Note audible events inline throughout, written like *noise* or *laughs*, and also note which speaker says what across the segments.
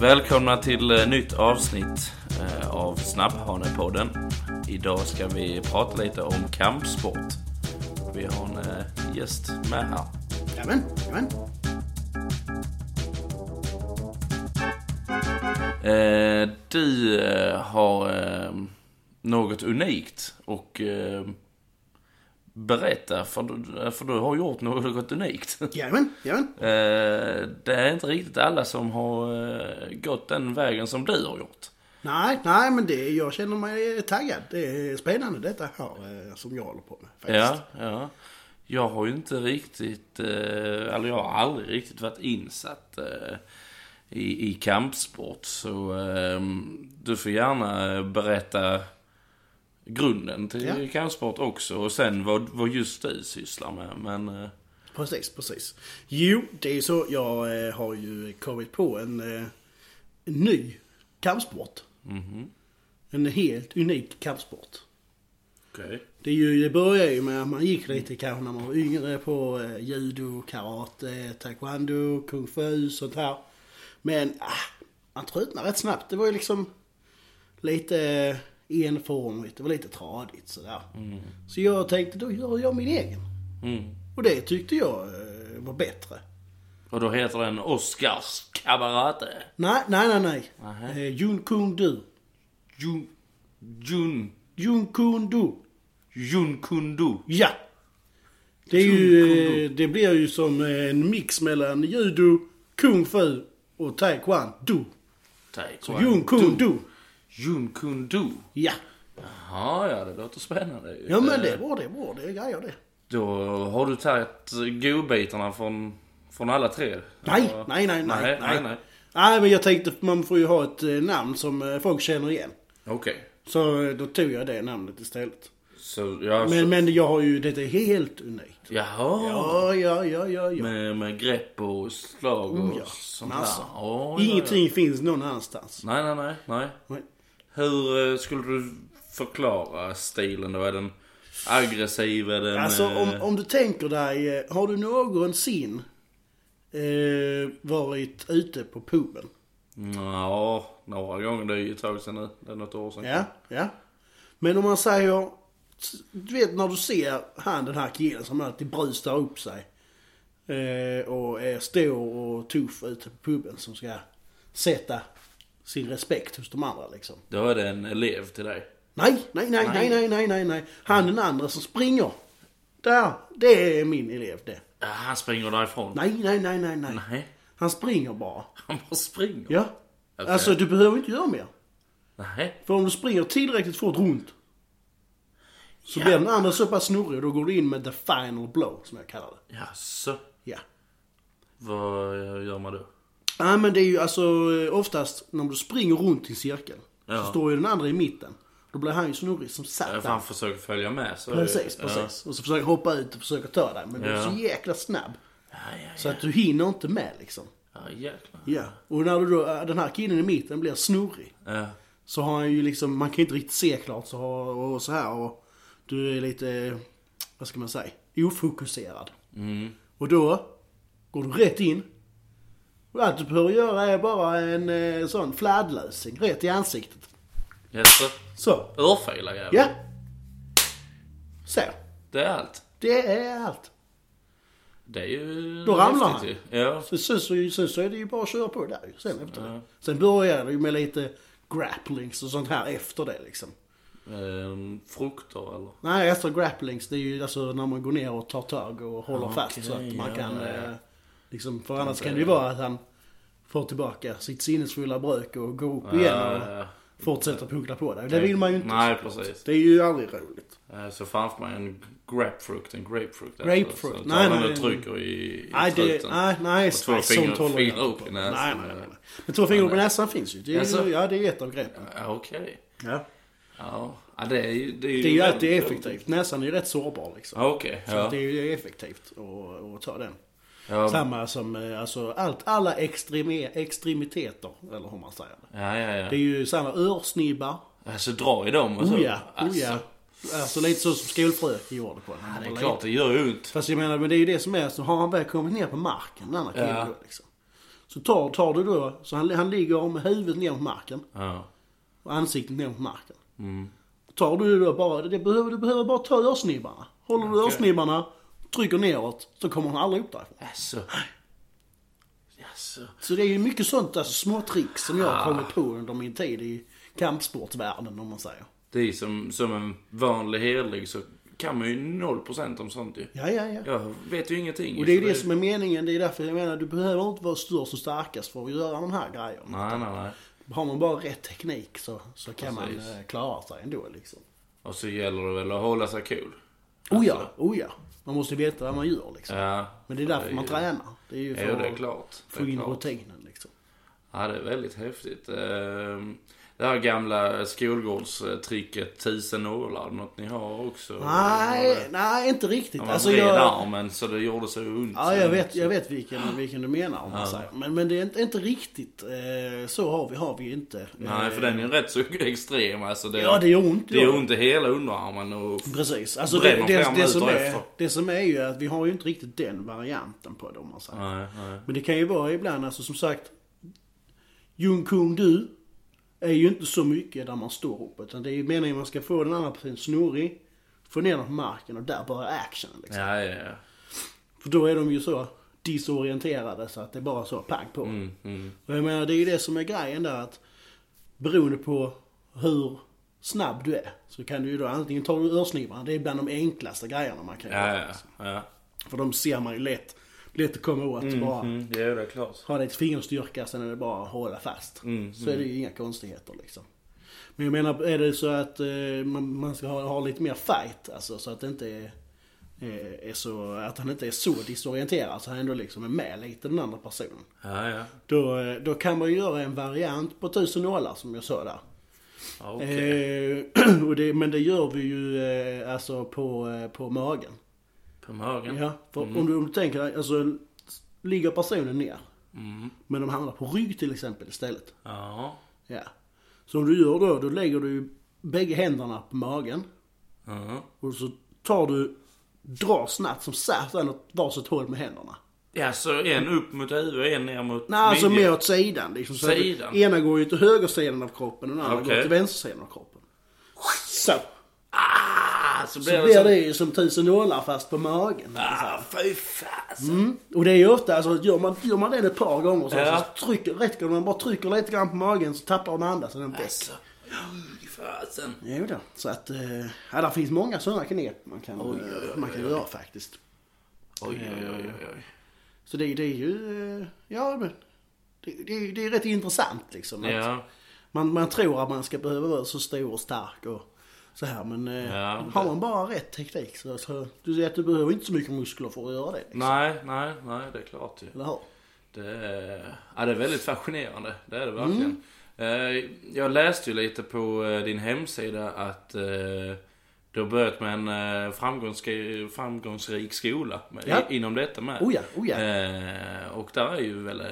Speaker 1: Välkomna till eh, nytt avsnitt eh, av Snabbhanepodden. Idag ska vi prata lite om kampsport. Vi har en eh, gäst med här.
Speaker 2: Jajamän, jajamän.
Speaker 1: Eh, du eh, har eh, något unikt och eh, berätta, för du, eh, för du har gjort något unikt. *laughs*
Speaker 2: Jajamän, jajamän.
Speaker 1: Eh, det är inte riktigt alla som har eh, gått den vägen som du har gjort.
Speaker 2: Nej, nej, men det, jag känner mig taggad. Det är spännande detta här eh, som jag håller på med.
Speaker 1: Ja,
Speaker 2: Faktiskt.
Speaker 1: ja. Jag har ju inte riktigt, eh, eller jag har aldrig riktigt varit insatt eh, i, i kampsport. Så eh, du får gärna eh, berätta grunden till
Speaker 2: Ja.
Speaker 1: kampsport också och sen vad, vad just du sysslar med. Men eh,
Speaker 2: Precis, precis. Jo, det är ju så. Jag eh, har ju kommit på en eh, ny kampsport. En helt unik kampsport.
Speaker 1: okej.
Speaker 2: Det, är ju, det börjar ju med att man gick lite kanske när man var yngre på eh, judo, karate, taekwondo, kung fu, sånt här. Men ah, man tröttnade rätt snabbt. Det var ju liksom lite eh, enformigt, det var lite tradigt sådär. Så jag tänkte då gör jag min egen.
Speaker 1: Mm.
Speaker 2: Och det tyckte jag eh, var bättre.
Speaker 1: Och då heter den Oscars Kabarate.
Speaker 2: Nej, nej, nej, nej.
Speaker 1: Nähä.
Speaker 2: Eh, Jun Kung Du.
Speaker 1: Jun... Jun...
Speaker 2: Jun Kung Du.
Speaker 1: Junkundu.
Speaker 2: Ja! Det, är ju, eh, det blir ju som eh, en mix mellan judo, kung fu och taekwondo. Så jun kung do.
Speaker 1: Junkundu.
Speaker 2: Ja.
Speaker 1: Jaha, ja det låter spännande ju.
Speaker 2: Ja men
Speaker 1: Eh,
Speaker 2: det är bra, det är bra, det är grejer det.
Speaker 1: Då har du tagit godbitarna från, från alla tre?
Speaker 2: Nej,
Speaker 1: Eller?
Speaker 2: nej, nej, nej,
Speaker 1: nej, nej.
Speaker 2: nej. Nej men jag tänkte man får ju ha ett eh, namn som eh, folk känner igen.
Speaker 1: Okej.
Speaker 2: Så eh, då tog jag det namnet istället.
Speaker 1: Så, ja, så,
Speaker 2: Men, men jag har ju, det är helt unikt.
Speaker 1: Jaha.
Speaker 2: Ja, ja, ja, ja, ja.
Speaker 1: Med, med grepp och slag och
Speaker 2: Oh, ja.
Speaker 1: sånt
Speaker 2: Massa.
Speaker 1: där. Ja, ja,
Speaker 2: Ingenting finns någon annanstans.
Speaker 1: Ja. Nej, nej, nej, nej.
Speaker 2: Nej.
Speaker 1: Hur eh, skulle du förklara stilen då? Är den aggressiv? Är den...
Speaker 2: Alltså
Speaker 1: eh,
Speaker 2: om, om du tänker dig, eh, har du någonsin eh, varit ute på puben?
Speaker 1: eh, Ja, några gånger. Det är ju ett tag sedan nu. Det är något år sedan.
Speaker 2: Ja, ja. Men om man säger, du vet när du ser han den här killen som alltid brusar upp sig eh, och är stor och tuff ute på puben som ska sätta sin respekt hos de andra liksom.
Speaker 1: Då är det en elev till dig.
Speaker 2: Nej, nej, nej, nej, nej, nej, nej, nej. Han den andra som springer. Där, det är min elev det.
Speaker 1: Ja, han springer därifrån.
Speaker 2: Nej, nej, nej, nej, nej.
Speaker 1: Nej,
Speaker 2: Han springer bara.
Speaker 1: han bara springer.
Speaker 2: Ja.
Speaker 1: Okej.
Speaker 2: Alltså du behöver inte göra mer.
Speaker 1: Nej.
Speaker 2: För om du springer tillräckligt fort runt. Så blir den andra så pass snurrig och då går du in med the final blow som jag kallar det.
Speaker 1: Jaså?
Speaker 2: Ja.
Speaker 1: Vad gör man då?
Speaker 2: Nej men det är ju alltså eh, oftast när du springer runt i cirkeln.
Speaker 1: Ja.
Speaker 2: Så står ju den andra i mitten. Då blir han ju snurrig som
Speaker 1: För
Speaker 2: satan.
Speaker 1: han försöker följa med så...
Speaker 2: Precis, precis. Och så försöker hoppa ut och försöker ta dig. Men du är
Speaker 1: Ja.
Speaker 2: så jäkla snabb.
Speaker 1: Ja, ja, ja.
Speaker 2: Så att du hinner inte med liksom.
Speaker 1: ja jäklar.
Speaker 2: Ja. Och när du då, eh, den här killen i mitten blir snurrig.
Speaker 1: Ja.
Speaker 2: Så har han ju liksom, man kan ju inte riktigt se klart så, och så här och du är lite, vad ska man säga, ofokuserad. Och då går du rätt in. Och allt du behöver göra är bara en eh, sån fladdlösning rätt i ansiktet.
Speaker 1: Jaså?
Speaker 2: Så,
Speaker 1: Örfila jävel.
Speaker 2: ja. Så,
Speaker 1: Det är allt.
Speaker 2: det är allt.
Speaker 1: Det är ju...
Speaker 2: Då ramlar
Speaker 1: häftigt ju. Ja.
Speaker 2: Så, sen, så, sen så är det ju bara att köra på där ju, sen efter det. Sen börjar det ju med lite grapplings och sånt här efter det liksom.
Speaker 1: Ehm, frukter eller?
Speaker 2: Nej, efter grapplings, det är ju alltså när man går ner och tar tag och håller
Speaker 1: Ah, Okej,
Speaker 2: fast så att man
Speaker 1: ja,
Speaker 2: kan...
Speaker 1: ja.
Speaker 2: Eh, liksom, för annars kan det ju vara att han får tillbaka sitt sinnesfulla brök och går upp igen och
Speaker 1: Ja, ja.
Speaker 2: fortsätter puckla på det. Det vill man ju inte.
Speaker 1: Nej, precis.
Speaker 2: Det är ju aldrig roligt.
Speaker 1: Eh, Så framför mig en grapefrukt, en grapefrukt. alltså.
Speaker 2: Grapefrukt.
Speaker 1: Så tar
Speaker 2: Nej,
Speaker 1: man
Speaker 2: nej,
Speaker 1: och
Speaker 2: nej.
Speaker 1: trycker i, i
Speaker 2: Nej, det,
Speaker 1: truten.
Speaker 2: nej, nej,
Speaker 1: Och två
Speaker 2: nej,
Speaker 1: fingrar-
Speaker 2: sånt håller jag
Speaker 1: fingrar
Speaker 2: inte
Speaker 1: upp
Speaker 2: på.
Speaker 1: i
Speaker 2: Nej,
Speaker 1: näsan.
Speaker 2: nej, nej, nej. Men två fingrar på näsan finns ju. Det är
Speaker 1: Jaså?
Speaker 2: ju ja, det är ett av greppen.
Speaker 1: Ja, Okej.
Speaker 2: Ja.
Speaker 1: Ja. ja, det är ju... Det är ju,
Speaker 2: Det är ju alltid effektivt. Näsan är ju rätt sårbar liksom.
Speaker 1: Ja, Okej,
Speaker 2: Så att
Speaker 1: ja.
Speaker 2: det är ju effektivt att- att ta den.
Speaker 1: Ja,
Speaker 2: Samma som eh, alltså, allt, alla extreme, extremiteter, eller hur man säger det.
Speaker 1: ja, ja. ja.
Speaker 2: Det är ju samma örsnibbar.
Speaker 1: Alltså dra i dem och så.
Speaker 2: Oh ja, oh
Speaker 1: Alltså,
Speaker 2: ja. Alltså lite så som skolfröken gjorde på den.
Speaker 1: ja, det
Speaker 2: Eller
Speaker 1: är
Speaker 2: lite.
Speaker 1: klart det gör ju ont.
Speaker 2: Fast jag menar, men det är ju det som är, så har han väl kommit ner på marken, den andra killen då liksom. Så tar, tar du då, så han, han ligger med huvudet ner på marken
Speaker 1: Ja.
Speaker 2: och ansiktet ner på marken.
Speaker 1: Mm.
Speaker 2: Tar du då bara, det behöver, du behöver bara ta örsnibbarna. Håller du
Speaker 1: Okej.
Speaker 2: örsnibbarna, trycker neråt, så kommer han aldrig upp därifrån.
Speaker 1: Alltså. Alltså.
Speaker 2: Så det är ju mycket sånt, alltså små tricks som jag
Speaker 1: Ah.
Speaker 2: har kommit på under min tid i kampsportsvärlden om man säger.
Speaker 1: Det är som, som en vanlig helig så kan man ju 0% om sånt ju.
Speaker 2: Ja, ja, ja.
Speaker 1: Jag vet ju ingenting.
Speaker 2: Och det är
Speaker 1: så
Speaker 2: ju det som är meningen, det är därför jag menar du behöver inte vara störst och starkast för att göra de här grejerna.
Speaker 1: Nej, nej, nej.
Speaker 2: Har man bara rätt teknik så, så kan
Speaker 1: Precis.
Speaker 2: man eh, klara sig ändå liksom.
Speaker 1: Och så gäller det väl att hålla sig cool.
Speaker 2: Oh ja, oh ja. Man måste veta vad man gör liksom.
Speaker 1: Ja.
Speaker 2: Men det är därför man
Speaker 1: ju-
Speaker 2: tränar. Det är ju
Speaker 1: Jo, det
Speaker 2: för
Speaker 1: är
Speaker 2: att
Speaker 1: klart. Det
Speaker 2: få
Speaker 1: är
Speaker 2: in
Speaker 1: klart.
Speaker 2: rutinen liksom.
Speaker 1: Ja, det är väldigt häftigt. Ehm, Det här gamla skolgårdstricket, tusen nålar, något ni har också?
Speaker 2: Nej, nej inte riktigt.
Speaker 1: Man
Speaker 2: Alltså,
Speaker 1: vred
Speaker 2: jag,
Speaker 1: armen så det gjorde så ont.
Speaker 2: ja, jag vet, jag vet vilken, vilken du menar om man säger. Men, men det är inte, inte riktigt eh, så har vi, har vi inte. eh,
Speaker 1: Nej, för den är ju rätt så *laughs* extrem alltså. Det,
Speaker 2: Ja, det gör ont.
Speaker 1: det gör ont i hela underarmen och...
Speaker 2: Precis. Alltså det,
Speaker 1: Bränner
Speaker 2: det, det,
Speaker 1: fem
Speaker 2: som
Speaker 1: minuter
Speaker 2: är,
Speaker 1: efter.
Speaker 2: det som är ju att vi har ju inte riktigt den varianten på det om man säger.
Speaker 1: Nej, nej.
Speaker 2: Men det kan ju vara ibland, alltså som sagt. Jung Kung Du är ju inte så mycket där man står upp. Utan det är ju meningen att man ska få den andra personen snorig. Få ner den på marken och där börjar actionen liksom.
Speaker 1: Ja, ja, ja.
Speaker 2: För då är de ju så disorienterade så att det är bara så pang på.
Speaker 1: Mm, mm.
Speaker 2: Och jag menar det är ju det som är grejen där att beroende på hur snabb du är så kan du ju då antingen ta du örsnibbarna, det är bland de enklaste grejerna man kan
Speaker 1: Ja,
Speaker 2: göra.
Speaker 1: ja, ja.
Speaker 2: För de ser man ju lätt, lätt att komma åt bara.
Speaker 1: Mm, det är det klart.
Speaker 2: Har det ett fingerstyrka sen är det bara att hålla fast.
Speaker 1: Mm,
Speaker 2: så är det ju inga konstigheter liksom. Men jag menar, är det så att eh, man, man ska ha, ha lite mer fight alltså så att det inte är, eh, är så, att han inte är så disorienterad så han ändå liksom är med lite den andra personen.
Speaker 1: Ja, ja.
Speaker 2: Då, eh, då kan man ju göra en variant på tusen nålar som jag sa där.
Speaker 1: Ja, Okej.
Speaker 2: Eh, *clears throat* och det, men det gör vi ju eh, alltså på, eh, på magen.
Speaker 1: På magen?
Speaker 2: Ja, för om, du, om du tänker dig, alltså ligger personen ner.
Speaker 1: Mm.
Speaker 2: Men de hamnar på rygg till exempel istället.
Speaker 1: Ja.
Speaker 2: Ja. Så om du gör då, då lägger du ju bägge händerna på magen.
Speaker 1: Ja.
Speaker 2: Och så tar du, drar snabbt som satan åt varsitt håll med händerna.
Speaker 1: Ja, så en upp mot huvudet, en ner mot
Speaker 2: Nej, alltså
Speaker 1: midjan.
Speaker 2: mer åt sidan liksom. Så att
Speaker 1: Sidan?
Speaker 2: Ena går ju till högersidan av kroppen och den andra går
Speaker 1: Okej.
Speaker 2: till vänstersidan av kroppen. Så.
Speaker 1: Ah, så
Speaker 2: Så
Speaker 1: blir det
Speaker 2: blir
Speaker 1: så.
Speaker 2: det ju som tusen nålar fast på magen.
Speaker 1: Ah, fy fasen.
Speaker 2: Mm. Och det är ju ofta, alltså, gör, man, gör man det ett par gånger så,
Speaker 1: Ja.
Speaker 2: så trycker, räcker det man bara trycker lite grann på magen så tappar den andra så den väck.
Speaker 1: Alltså, fy fasen.
Speaker 2: Jo då. Så att, eh, ja, där finns många sådana knep man kan, eh,
Speaker 1: Oj, oj, oj,
Speaker 2: man kan
Speaker 1: oj.
Speaker 2: göra faktiskt.
Speaker 1: Oj, oj, oj, oj, oj.
Speaker 2: Så det, det är ju, eh, ja men, det, det, är- det är rätt intressant liksom. att
Speaker 1: Ja,
Speaker 2: Man, man tror att man ska behöva vara så stor och stark och så här men eh,
Speaker 1: Ja,
Speaker 2: har
Speaker 1: det-
Speaker 2: man bara rätt teknik så, så du ser att du behöver inte så mycket muskler för att göra det. Liksom.
Speaker 1: nej, nej, nej, det är klart ju.
Speaker 2: Eller hur?
Speaker 1: Det är, ja, det är väldigt fascinerande, det är det
Speaker 2: Mm.
Speaker 1: verkligen. Eh, Jag läste ju lite på eh, din hemsida att eh, du har börjat med en eh, framgångsri- framgångsrik skola med,
Speaker 2: Ja.
Speaker 1: i- inom detta med.
Speaker 2: Oh ja, oh ja.
Speaker 1: Eh, Och där är ju väl eh,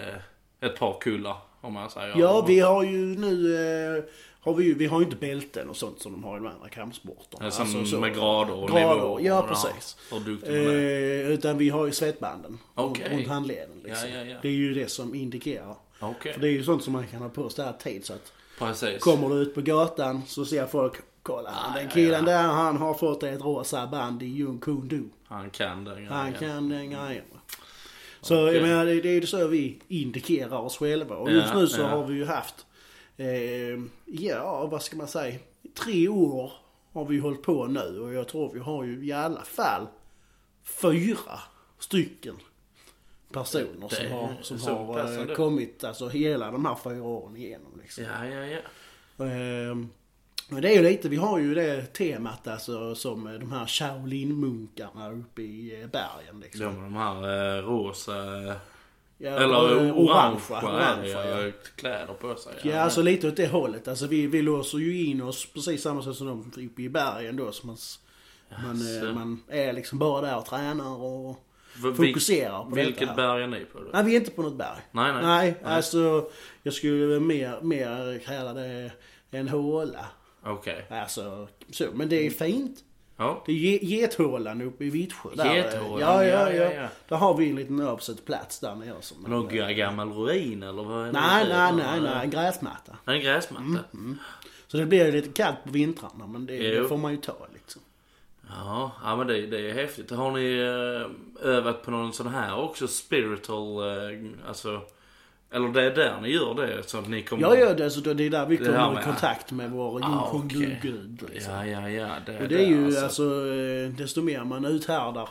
Speaker 1: ett par kullar, om man säger.
Speaker 2: Ja, vi har ju nu... Eh, har vi, ju, vi har ju inte bälten och sånt som de har i de andra kampsporterna.
Speaker 1: Eh, Som
Speaker 2: Alltså, så.
Speaker 1: med grader och
Speaker 2: Grader,
Speaker 1: nivåer.
Speaker 2: ja, precis.
Speaker 1: Ja, hur duktig man är.
Speaker 2: Eh, utan vi har ju svettbanden
Speaker 1: Okej.
Speaker 2: runt, runt handleden. Liksom.
Speaker 1: Ja, ja, ja.
Speaker 2: Det är ju det som indikerar.
Speaker 1: Okej,
Speaker 2: För det är ju sånt som man kan ha på sig här tid. Så att
Speaker 1: precis.
Speaker 2: kommer du ut på gatan så ser folk, kolla han, den killen där han har fått ett rosa band i Jung Kung Do.
Speaker 1: Han kan den grejen.
Speaker 2: Han kan den grejen.
Speaker 1: Mm.
Speaker 2: Så jag menar, det, det är ju så vi indikerar oss själva. Och
Speaker 1: Ja,
Speaker 2: just nu så
Speaker 1: ja.
Speaker 2: har vi ju haft, eh, ja vad ska man säga, tre år har vi hållit på nu och jag tror vi har ju i alla fall fyra stycken personer
Speaker 1: Det
Speaker 2: som
Speaker 1: är
Speaker 2: har, som
Speaker 1: så
Speaker 2: har
Speaker 1: pass
Speaker 2: eh,
Speaker 1: ändå.
Speaker 2: kommit alltså hela de här fyra åren igenom. Liksom.
Speaker 1: Ja, ja, ja.
Speaker 2: Ehm, Men det är ju lite, vi har ju det temat alltså som de här Shaolin-munkarna uppe i eh, bergen liksom.
Speaker 1: De, de här eh, rosa...
Speaker 2: Ja,
Speaker 1: eller
Speaker 2: eh,
Speaker 1: orangea
Speaker 2: orangea,
Speaker 1: ja,
Speaker 2: ja.
Speaker 1: kläder på sig.
Speaker 2: Ja, alltså lite åt det hållet. Alltså vi, vi låser ju in oss precis samma sätt som de uppe i bergen då. Så man, s- man, eh,
Speaker 1: Jaså.
Speaker 2: man är liksom bara där och tränar och
Speaker 1: V- vil-
Speaker 2: fokuserar på detta
Speaker 1: Vilket
Speaker 2: här.
Speaker 1: berg är ni på då?
Speaker 2: Nej, vi är inte på något berg.
Speaker 1: Nej, nej.
Speaker 2: alltså jag skulle mer, mer kalla det en håla.
Speaker 1: Okej. Mm.
Speaker 2: Alltså så, men det är fint.
Speaker 1: Ja.
Speaker 2: Det är Ge- Gethålan uppe i Vittsjö. där.
Speaker 1: Gethålan,
Speaker 2: ja,
Speaker 1: ja,
Speaker 2: ja,
Speaker 1: ja,
Speaker 2: ja,
Speaker 1: ja.
Speaker 2: Där har vi en liten översatt plats där nere. Som
Speaker 1: Någon g- gammal ruin eller vad är det?
Speaker 2: nej, nej, nej, nej, Mm, en gräsmatta.
Speaker 1: En gräsmatta?
Speaker 2: Så det blir ju lite kallt på vintrarna men det,
Speaker 1: Jo.
Speaker 2: det får man ju ta liksom.
Speaker 1: Ja, ja, men det, det är häftigt. Har ni eh, övat på någon sån här också? Spiritual, eh, alltså... Eller det är där ni gör det? Så att ni kommer...
Speaker 2: Jag gör det så då, det är där vi
Speaker 1: Det här
Speaker 2: kommer
Speaker 1: med-
Speaker 2: i kontakt med vår
Speaker 1: Ah,
Speaker 2: Jungfung
Speaker 1: okej.
Speaker 2: gud. Liksom.
Speaker 1: Ja, ja, ja. Det,
Speaker 2: Och det är ju
Speaker 1: alltså- Mm.
Speaker 2: alltså, eh, desto mer man uthärdar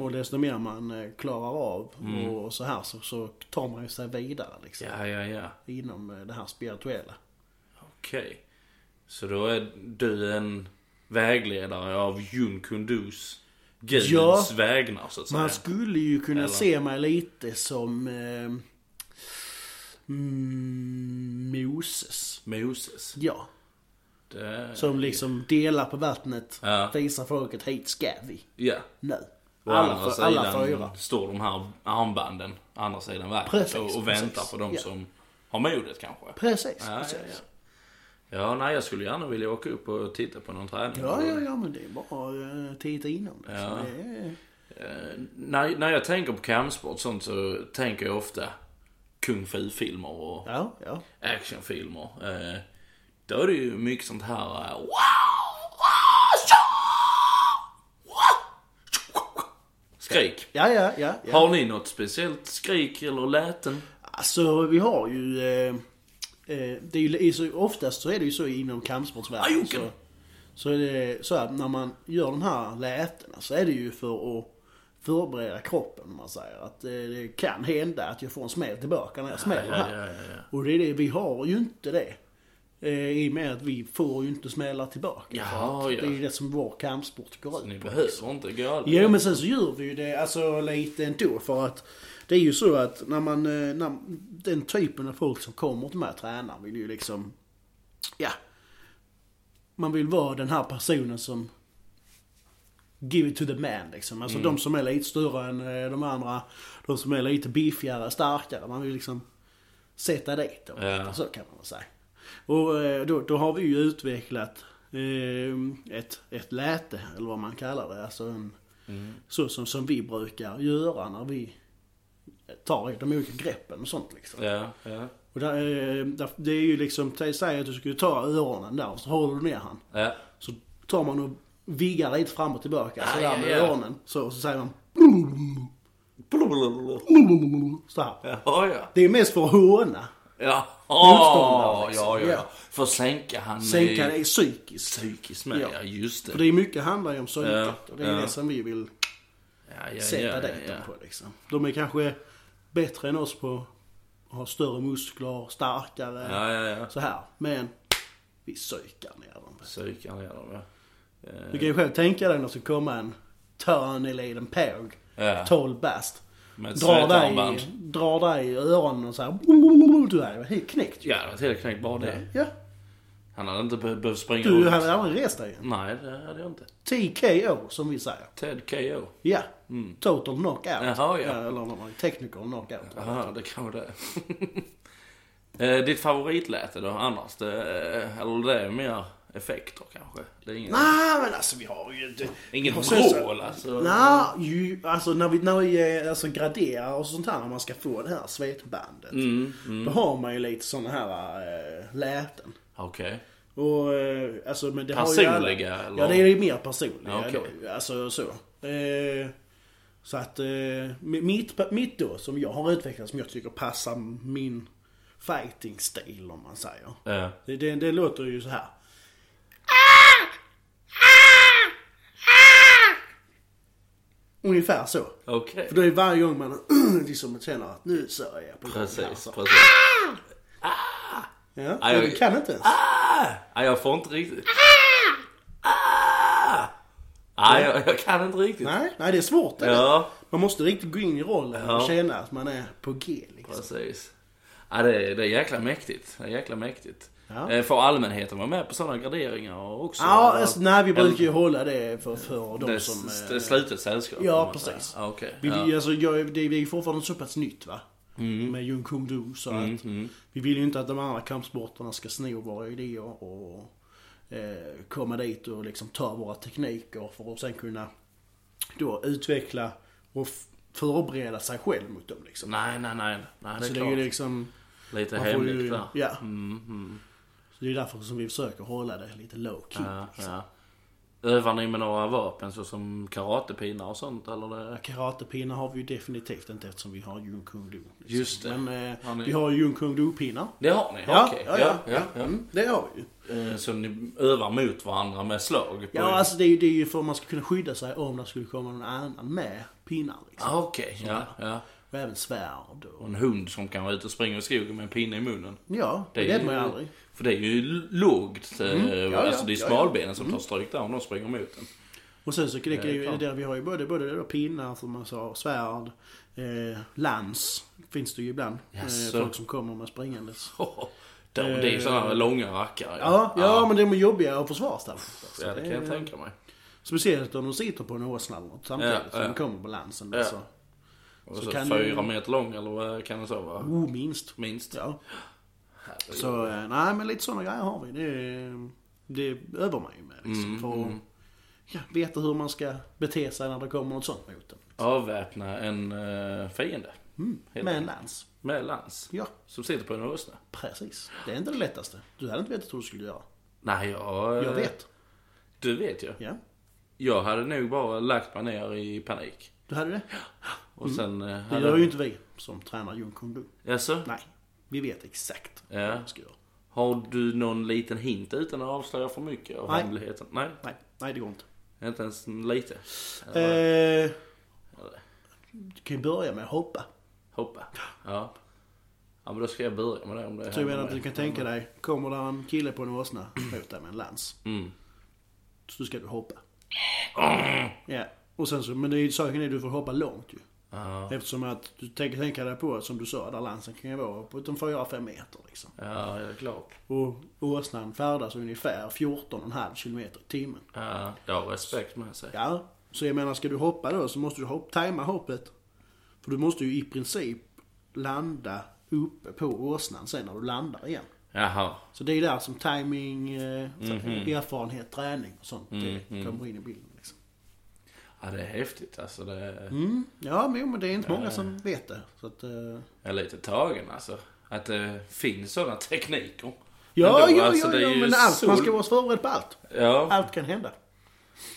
Speaker 2: och desto mer man eh, klarar av och, och så här så, så tar man ju sig vidare liksom.
Speaker 1: Ja, ja, ja.
Speaker 2: Inom eh, det här spirituella.
Speaker 1: Okej. Så då är du en vägledare av Jun Kundus gudens
Speaker 2: Ja.
Speaker 1: vägnar så att säga.
Speaker 2: Man skulle ju kunna
Speaker 1: Eller?
Speaker 2: se mig lite som eh, mm, Moses.
Speaker 1: Moses.
Speaker 2: Ja.
Speaker 1: Det...
Speaker 2: Som liksom delar på vattnet.
Speaker 1: Ja.
Speaker 2: Visar folket, hit ska vi.
Speaker 1: Ja.
Speaker 2: Nu.
Speaker 1: Å andra
Speaker 2: Alla, för,
Speaker 1: sidan
Speaker 2: alla fyra.
Speaker 1: står de här armbanden å andra sidan
Speaker 2: Precis,
Speaker 1: vattnet och, och
Speaker 2: precis.
Speaker 1: väntar på de
Speaker 2: Ja.
Speaker 1: som har modet kanske.
Speaker 2: Precis.
Speaker 1: Ja, ja,
Speaker 2: precis.
Speaker 1: ja. ja, nej jag skulle gärna vilja åka upp och titta på någon träning.
Speaker 2: Ja, ja, ja, men det är bara att titta inom det.
Speaker 1: Ja.
Speaker 2: Så det är...
Speaker 1: Eh, när, när jag tänker på kampsport och sånt så tänker jag ofta kung fu-filmer och
Speaker 2: ja, ja.
Speaker 1: actionfilmer. Eh, då är det ju mycket sånt här... eh, wow! Skrik.
Speaker 2: Ja, ja, ja. ja.
Speaker 1: Har ni något speciellt skrik eller läten?
Speaker 2: Alltså, vi har ju... Eh, eh, det är ju så, oftast så är det ju så inom kampsportsvärlden.
Speaker 1: Ajoken!
Speaker 2: Så, så är det så att när man gör de här lätena så är det ju för att förbereda kroppen. om Man säger att eh, det kan hända att jag får en smäll tillbaka när jag smäller här.
Speaker 1: ja, ja,
Speaker 2: Och det är det, vi har ju inte det. Eh, I och med att vi får ju inte smälla tillbaka.
Speaker 1: Jaha,
Speaker 2: För att
Speaker 1: ja.
Speaker 2: Det är ju det som vår kampsport går ut
Speaker 1: Ni behöver inte gå all...
Speaker 2: Jo men sen så gör vi ju det alltså lite ändå för att det är ju så att när man, eh, när, den typen av folk som kommer till mig och tränar vill ju liksom, ja. Man vill vara den här personen som give it to the man liksom. Alltså
Speaker 1: Mm.
Speaker 2: de som är lite större än eh, de andra, de som är lite biffigare, starkare. Man vill liksom sätta dit dem.
Speaker 1: Ja.
Speaker 2: Så kan man väl säga. Och eh, då, då har vi ju utvecklat eh, ett, ett läte, eller vad man kallar det. Alltså en,
Speaker 1: Mm.
Speaker 2: Så som, som vi brukar göra när vi tar i de olika greppen och sånt liksom.
Speaker 1: Ja, ja,
Speaker 2: Och där, eh, där, det är ju liksom, säg att du skulle ta öronen där och så håller du ner han.
Speaker 1: ja.
Speaker 2: Så tar man och viggar lite fram och tillbaka
Speaker 1: Ah,
Speaker 2: sådär
Speaker 1: ja,
Speaker 2: med
Speaker 1: ja.
Speaker 2: öronen. Så, så säger man
Speaker 1: Blablabla.
Speaker 2: så här.
Speaker 1: Ja, ja.
Speaker 2: Det är mest för att håna.
Speaker 1: Ja,
Speaker 2: Motståndare,
Speaker 1: ja,
Speaker 2: liksom.
Speaker 1: ja, ja.
Speaker 2: Ja.
Speaker 1: För att sänka han
Speaker 2: Sänka
Speaker 1: eh,
Speaker 2: det psykiskt.
Speaker 1: psykiskt med.
Speaker 2: Ja.
Speaker 1: Ja, just
Speaker 2: För
Speaker 1: det.
Speaker 2: det är mycket handlar ju om psyket.
Speaker 1: Ja,
Speaker 2: Och det är
Speaker 1: ja.
Speaker 2: det som vi vill
Speaker 1: Ja, ja,
Speaker 2: sätta
Speaker 1: ja,
Speaker 2: dit
Speaker 1: ja,
Speaker 2: dem på liksom. De är kanske bättre än oss på att ha större muskler, starkare,
Speaker 1: ja. Ja, ja, ja.
Speaker 2: så här. Men vi psykar ner dem.
Speaker 1: Psykar ner dem, ja.
Speaker 2: Du kan ju själv tänka dig när det ska komma en Törneliden Påg,
Speaker 1: Ja.
Speaker 2: 12 bast.
Speaker 1: Med ett
Speaker 2: Drar
Speaker 1: stötarmband.
Speaker 2: dig, drar dig i öronen och så här. Du är helt knäckt ju.
Speaker 1: Ja, det var helt knäckt bara det.
Speaker 2: Ja.
Speaker 1: Han hade inte be- behövt springa
Speaker 2: Du
Speaker 1: runt.
Speaker 2: hade aldrig rest dig.
Speaker 1: Nej, det hade jag inte.
Speaker 2: TKO som vi säger.
Speaker 1: Ted K.O.
Speaker 2: Ja. Total knockout.
Speaker 1: Mm. Jaha, ja.
Speaker 2: Eller vad man technical knockout.
Speaker 1: Jaha, det kan vara det. *laughs* Eh, Ditt favoritläte då annars? Det, eh, eller det är mer effekter kanske? Det är ingen,
Speaker 2: Nej men alltså vi har ju inte...
Speaker 1: ingen
Speaker 2: Och sen så-
Speaker 1: vrål alltså?
Speaker 2: Nej, ju, alltså när vi, när vi eh, alltså, graderar och sånt här när man ska få det här svetbandet.
Speaker 1: Mm,
Speaker 2: Då har man ju lite såna här äh, läten.
Speaker 1: Okej.
Speaker 2: Och, eh, alltså, men det har ju
Speaker 1: Personliga, eller?
Speaker 2: Ja, det är ju mer personliga.
Speaker 1: Ja, okej.
Speaker 2: då, Alltså så. Eh, så att eh, mi- mitt, mitt då, som jag har utvecklat, som jag tycker passar min fighting-stil om man säger.
Speaker 1: Eh,
Speaker 2: Det, det, det låter ju så här. Ungefär så.
Speaker 1: Okej.
Speaker 2: För då är varje gång man *clears throat* liksom känner att nu så är jag på gång här,
Speaker 1: Precis,
Speaker 2: så.
Speaker 1: precis.
Speaker 2: Ja,
Speaker 1: Aj,
Speaker 2: men du
Speaker 1: jag-
Speaker 2: kan inte ens.
Speaker 1: Nej, jag får inte riktigt... Ah! Nej, jag, jag kan inte riktigt.
Speaker 2: Nej, nej, det är svårt. det.
Speaker 1: Ja.
Speaker 2: Man måste riktigt gå in i rollen
Speaker 1: Ja.
Speaker 2: och känna att man är på G. Liksom.
Speaker 1: Precis. Ja, det, är- det är jäkla mäktigt. Det är jäkla mäktigt.
Speaker 2: Ja.
Speaker 1: Eh, Får allmänheten vara med på sådana graderingar också?
Speaker 2: Ja,
Speaker 1: Eller-
Speaker 2: alltså, nej, vi brukar ju hålla det för, för de
Speaker 1: Det är
Speaker 2: som...
Speaker 1: s-
Speaker 2: eh,
Speaker 1: det är slutet sällskap?
Speaker 2: ja,
Speaker 1: kan man säga.
Speaker 2: precis.
Speaker 1: Ja, Okej.
Speaker 2: Vi,
Speaker 1: Ja. Mm.
Speaker 2: vi, alltså, jag, det, det är ju fortfarande så pass nytt va? Med Jung Kung Du. Så att vi vill ju inte att de andra kampsporterna ska sno våra idéer och eh, komma dit och liksom ta våra tekniker för att sen kunna då utveckla och f- förbereda sig själv mot dem liksom.
Speaker 1: Nej, nej, nej. nej det är
Speaker 2: så det är
Speaker 1: klart.
Speaker 2: ju liksom,
Speaker 1: Lite
Speaker 2: man får ju-
Speaker 1: hemligt där.
Speaker 2: ja.
Speaker 1: Mm, mm.
Speaker 2: så det är därför som vi försöker hålla det lite low key.
Speaker 1: Ja, ja. Övar ni med några vapen såsom karatepinnar och sånt eller?
Speaker 2: Ja,
Speaker 1: Det?
Speaker 2: Karatepinnar har vi ju definitivt inte eftersom vi har Jun Kung Do. Liksom.
Speaker 1: Just det.
Speaker 2: Men eh,
Speaker 1: Har ni-
Speaker 2: vi har Jun Kung Do-pinnar.
Speaker 1: det har ni? Okej.
Speaker 2: Mm, det har vi ju.
Speaker 1: Eh, Så ni övar mot varandra med slag?
Speaker 2: Ja, alltså det är ju, det är ju för att man ska kunna skydda sig om det skulle komma någon annan med pinnar. Liksom.
Speaker 1: Ah, Okej, ja, ja.
Speaker 2: Och även svärd. Och...
Speaker 1: Och en hund som kan vara ute och springa i skogen med en pinne i munnen.
Speaker 2: Ja, det,
Speaker 1: är
Speaker 2: vet
Speaker 1: ju-
Speaker 2: man ju aldrig. Mm.
Speaker 1: För det är ju l- lågt. eh,
Speaker 2: ja,
Speaker 1: alltså det är
Speaker 2: ja, Mm. ja.
Speaker 1: smalbenen som tar stryk där om de springer mot
Speaker 2: *laughs*
Speaker 1: den.
Speaker 2: Och sen så det,
Speaker 1: det är
Speaker 2: det,
Speaker 1: klart.
Speaker 2: där vi har ju både, både då pinnar, som man sa, svärd, eh, lans. Finns det ju ibland. eh,
Speaker 1: Jaså.
Speaker 2: folk som kommer med springandes.
Speaker 1: Då, det är ju sådana långa rackare.
Speaker 2: Ja, ja, men de är jobbiga att försvara alltså.
Speaker 1: ja, det kan jag tänka mig.
Speaker 2: Speciellt om de sitter på en åsna eller något samtidigt
Speaker 1: Ja,
Speaker 2: som
Speaker 1: ja.
Speaker 2: de kommer på lansen.
Speaker 1: Ja.
Speaker 2: Där, så.
Speaker 1: Och
Speaker 2: Så
Speaker 1: så
Speaker 2: kan
Speaker 1: fyra
Speaker 2: du-
Speaker 1: meter lång eller vad kan det så vara?
Speaker 2: Oh, minst.
Speaker 1: Minst.
Speaker 2: Ja.
Speaker 1: Herregud.
Speaker 2: Så eh, nej men lite sådana grejer har vi. Det, det övar man ju med liksom.
Speaker 1: Mm,
Speaker 2: för att
Speaker 1: mm.
Speaker 2: ja, veta hur man ska bete sig när det kommer något sånt mot en.
Speaker 1: Avväpna en eh, fiende. Helt
Speaker 2: Med en
Speaker 1: enkelt.
Speaker 2: lans.
Speaker 1: Med lans.
Speaker 2: Mm. Ja,
Speaker 1: Som sitter på en åsna.
Speaker 2: precis. Det är inte det lättaste. Du hade inte vetat hur du skulle göra.
Speaker 1: Nej, jag... eh,
Speaker 2: Jag vet.
Speaker 1: Du vet ju.
Speaker 2: Ja.
Speaker 1: Jag hade nog bara lagt mig ner i panik.
Speaker 2: Du hade det?
Speaker 1: Och sen... eh,
Speaker 2: Mm. Det
Speaker 1: hade-
Speaker 2: gör ju inte vi som tränar Jung Kung Do.
Speaker 1: Jaså?
Speaker 2: Nej. Vi vet exakt
Speaker 1: Ja.
Speaker 2: vad vi ska göra.
Speaker 1: Har du någon liten hint utan att avslöja för mycket av
Speaker 2: Nej.
Speaker 1: hemligheten? Nej.
Speaker 2: Nej, nej det går inte.
Speaker 1: Inte ens lite? Eller
Speaker 2: Eh,
Speaker 1: eller
Speaker 2: du kan ju börja med att hoppa.
Speaker 1: hoppa? Ja. Ja men då ska jag börja med det om det
Speaker 2: Så jag
Speaker 1: händer
Speaker 2: menar att
Speaker 1: mig.
Speaker 2: du kan tänka dig, kommer där en kille på en åsna mot dig med en lans.
Speaker 1: Mm.
Speaker 2: Så ska du hoppa. Ja. Och sen så, men det är, ju- saken är att du får hoppa långt ju.
Speaker 1: Ja.
Speaker 2: Eftersom att du tänker tänka dig på, som du sa, där lansen kan ju vara på en 4-5 meter liksom.
Speaker 1: Ja, det är klart.
Speaker 2: Och åsnan färdas ungefär 14,5 km i timmen.
Speaker 1: Ja, det har respekt med sig.
Speaker 2: Ja, så jag menar ska du hoppa då så måste du hopp, tajma hoppet. För du måste ju i princip landa uppe på åsnan sen när du landar igen.
Speaker 1: Jaha.
Speaker 2: Så det är där som timing, eh,
Speaker 1: Mhm.
Speaker 2: erfarenhet, träning och sånt
Speaker 1: Mm,
Speaker 2: det kommer in i bilden. Liksom.
Speaker 1: Ja, det är häftigt alltså. Det
Speaker 2: Mm. Ja, men, jo, men det är inte
Speaker 1: Eh.
Speaker 2: många som vet det. Så att, eh,
Speaker 1: Jag är lite tagen alltså. Att det finns sådana tekniker.
Speaker 2: ja,
Speaker 1: Ändå,
Speaker 2: ja,
Speaker 1: alltså,
Speaker 2: ja,
Speaker 1: det är
Speaker 2: ja,
Speaker 1: ju
Speaker 2: men allt,
Speaker 1: så-
Speaker 2: man ska vara förberedd på allt.
Speaker 1: Ja.
Speaker 2: Allt kan hända.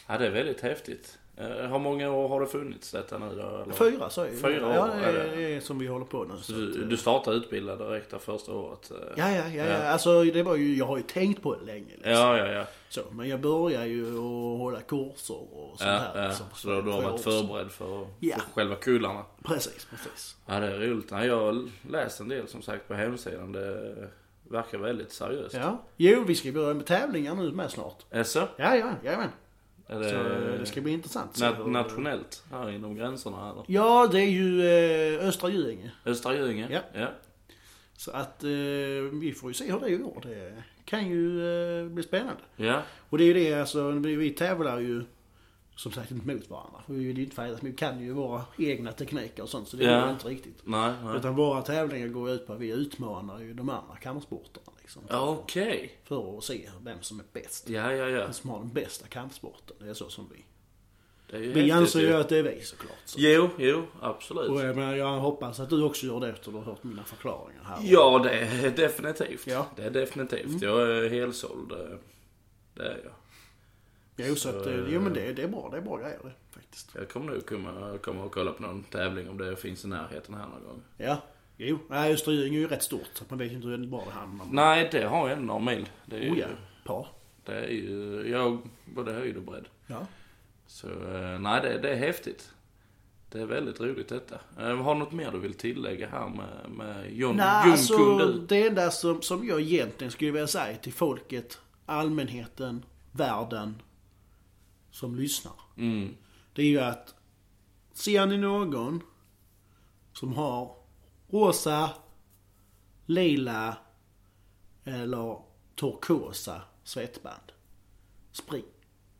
Speaker 1: ja, det är väldigt häftigt. Eh, Hur många år har det funnits detta nu då? Eller?
Speaker 2: Fyra så är det.
Speaker 1: Fyra år
Speaker 2: ja,
Speaker 1: är
Speaker 2: det
Speaker 1: det.
Speaker 2: är, är som vi håller på nu. Så att,
Speaker 1: Du,
Speaker 2: eh,
Speaker 1: du startade utbildad direkt det första året? eh.
Speaker 2: ja, ja, ja, ja. Alltså, det var ju, jag har ju tänkt på det länge. Liksom.
Speaker 1: Ja, ja, ja.
Speaker 2: Så, men jag börjar ju att hålla kurser och sånt
Speaker 1: ja,
Speaker 2: här.
Speaker 1: ja.
Speaker 2: liksom,
Speaker 1: Så då, du har
Speaker 2: för
Speaker 1: varit
Speaker 2: år sedan.
Speaker 1: förberedd för,
Speaker 2: Ja.
Speaker 1: för själva kullarna?
Speaker 2: Precis, precis.
Speaker 1: Ja, det är roligt. Nej, Jag har läst en del som sagt på hemsidan. Det verkar väldigt seriöst.
Speaker 2: Ja. Jo, vi ska börja med tävlingar nu med snart.
Speaker 1: Jaså?
Speaker 2: Ja, ja, jajamän.
Speaker 1: Är
Speaker 2: Så eh,
Speaker 1: det,
Speaker 2: det ska bli intressant.
Speaker 1: na-
Speaker 2: Så-
Speaker 1: nationellt här inom gränserna eller?
Speaker 2: Ja, det är ju eh, Östra Göinge.
Speaker 1: Östra Göinge?
Speaker 2: Ja.
Speaker 1: ja.
Speaker 2: Så att eh, vi får ju se hur det går. Det kan ju eh, bli spännande.
Speaker 1: Ja.
Speaker 2: Och det är ju det, alltså, vi vi tävlar ju som sagt inte mot varandra. För vi är ju inte färdiga, men vi kan ju våra egna tekniker och sånt. Så det
Speaker 1: Ja.
Speaker 2: är ju inte riktigt.
Speaker 1: Nej, nej.
Speaker 2: Utan våra tävlingar går ut på att vi utmanar ju de andra kampsporterna. Liksom,
Speaker 1: Ja, Okej.
Speaker 2: För att se vem som är bäst.
Speaker 1: Ja, ja, ja.
Speaker 2: Vem som har den bästa kampsporten. Det är så som vi...
Speaker 1: Det är ju
Speaker 2: Vi
Speaker 1: häftigt
Speaker 2: anser ju att det är vi såklart. Så.
Speaker 1: Jo, jo, absolut.
Speaker 2: Och eh, jag, menar, jag hoppas att du också gör det efter du har hört mina förklaringar här.
Speaker 1: Ja, det är definitivt.
Speaker 2: Ja. Mm.
Speaker 1: Det är definitivt. Jag är helsåld. eh, Det är jag.
Speaker 2: Jo, så att, eh,
Speaker 1: Så-
Speaker 2: jo men det, det är bra. Det är bra grejer det faktiskt.
Speaker 1: Jag kommer nog komma, komma och kolla på någon tävling om det finns i närheten här någon gång.
Speaker 2: Ja. Jo. Nej, Östra Göinge är ju rätt stort. Så att man vet ju inte hur bra det hamnar. men-
Speaker 1: Nej, det har jag några mil. Det är ju,
Speaker 2: Oh ja. Par.
Speaker 1: det är ju jag, både höjd och bredd.
Speaker 2: Ja.
Speaker 1: Så eh, nej, det, det är häftigt. Det är väldigt roligt detta. Eh, Har du något mer du vill tillägga här med, med John
Speaker 2: Nej,
Speaker 1: Jung
Speaker 2: alltså
Speaker 1: Kung Du?
Speaker 2: det enda som, som jag egentligen skulle vilja säga till folket, allmänheten, världen som lyssnar.
Speaker 1: Mm.
Speaker 2: Det är ju att ser ni någon som har rosa, lila eller turkosa svettband. Spring,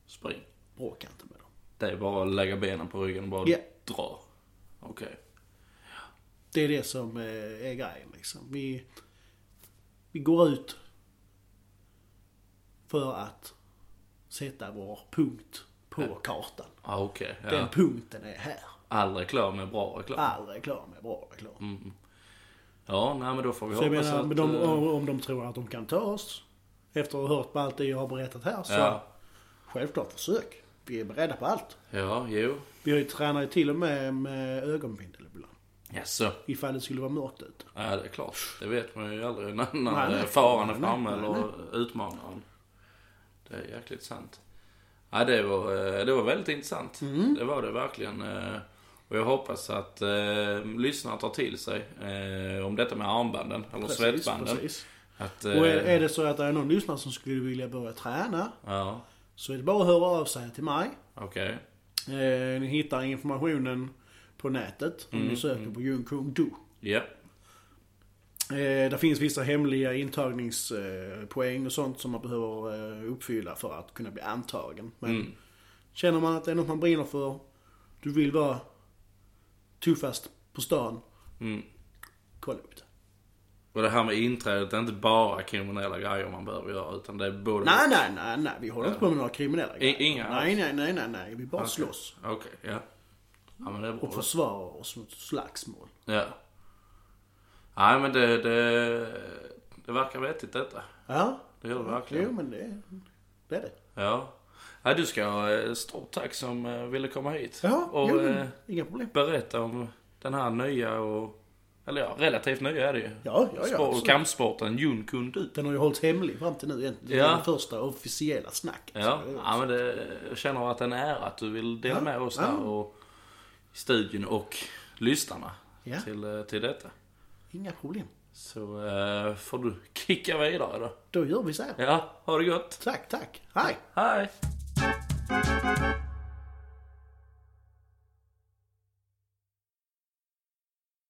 Speaker 1: Spring.
Speaker 2: bråka inte med dem.
Speaker 1: Det är bara att lägga benen på ryggen och bara
Speaker 2: Ja.
Speaker 1: dra. Okej.
Speaker 2: Det är det som eh, är grejen liksom. Vi, vi går ut för att sätta vår punkt på kartan.
Speaker 1: Ja, Ah, okej.
Speaker 2: Den
Speaker 1: ja.
Speaker 2: punkten är Ah. här.
Speaker 1: All reklam är bra reklam.
Speaker 2: All reklam är bra reklam.
Speaker 1: Mm. Ja, nej men då får vi
Speaker 2: Så jag
Speaker 1: hoppas
Speaker 2: menar,
Speaker 1: att...
Speaker 2: de,
Speaker 1: eh,
Speaker 2: om de tror att de kan ta oss efter att ha hört på allt det jag har berättat här så
Speaker 1: Ja.
Speaker 2: självklart försök. Vi är beredda på allt.
Speaker 1: Ja, jo.
Speaker 2: Vi har ju tränat ju till och med med ögonbindel ibland.
Speaker 1: Jaså?
Speaker 2: Ifall det skulle vara mörkt ute.
Speaker 1: Ja, det är klart. Det vet man ju aldrig när, när
Speaker 2: Nej, nej.
Speaker 1: faran är
Speaker 2: Nej,
Speaker 1: framme
Speaker 2: nej,
Speaker 1: eller utmanaren. Det är jäkligt sant. Ja, det var, eh, det var väldigt intressant.
Speaker 2: Mm.
Speaker 1: Det var det verkligen. eh, Och jag hoppas att eh, lyssnarna tar till sig eh, om detta med armbanden eller svettbanden.
Speaker 2: precis.
Speaker 1: Att,
Speaker 2: Och är,
Speaker 1: eh,
Speaker 2: är det så att det är någon lyssnare som skulle vilja börja träna
Speaker 1: Ja,
Speaker 2: så är det bara att höra av sig till mig.
Speaker 1: okej.
Speaker 2: Eh, ni hittar informationen på nätet om
Speaker 1: Mm,
Speaker 2: ni söker på Jung Kung Do.
Speaker 1: Ja,
Speaker 2: Eh, där finns vissa hemliga intagningspoäng och sånt som man behöver eh, uppfylla för att kunna bli antagen. Men
Speaker 1: Mm.
Speaker 2: känner man att det är något man brinner för, du vill vara tuffast på stan,
Speaker 1: Mm.
Speaker 2: kolla upp det.
Speaker 1: Och det här med inträdet, det är inte bara kriminella grejer man behöver göra utan det är både...
Speaker 2: Nej, nej, nej, nej. Vi håller inte på med några kriminella grejer.
Speaker 1: inga
Speaker 2: nej, nej, nej, nej, nej. Vi bara slåss
Speaker 1: Okej, ja. Ja men det är bra.
Speaker 2: och försvarar oss mot slagsmål.
Speaker 1: Ja. Nej men det, det, det verkar vettigt detta.
Speaker 2: Ja,
Speaker 1: Det gör det
Speaker 2: jo
Speaker 1: verkligen.
Speaker 2: men det, det är det.
Speaker 1: Ja. ja du ska ha eh, stort tack som eh, ville komma hit.
Speaker 2: Ja,
Speaker 1: och
Speaker 2: jo, men
Speaker 1: eh,
Speaker 2: inga problem.
Speaker 1: berätta om den här nya och... Eller ja, relativt nya är det ju.
Speaker 2: Ja, ja, ja.
Speaker 1: Sport-
Speaker 2: absolut.
Speaker 1: kampsporten Jun Kundu.
Speaker 2: Den har ju hållits hemlig fram till nu egentligen. Det är
Speaker 1: Ja.
Speaker 2: det första officiella snacket.
Speaker 1: Ja,
Speaker 2: Så det är-
Speaker 1: ja men det, jag känner att det är en ära att du vill dela
Speaker 2: Ja,
Speaker 1: med oss
Speaker 2: ja.
Speaker 1: där och studion och lyssnarna
Speaker 2: Ja.
Speaker 1: till, eh, till detta.
Speaker 2: Inga problem.
Speaker 1: Så eh, får du kicka vidare då.
Speaker 2: Då gör vi så här.
Speaker 1: Ja, ha det gott.
Speaker 2: Tack, tack. Hej!
Speaker 1: Hej!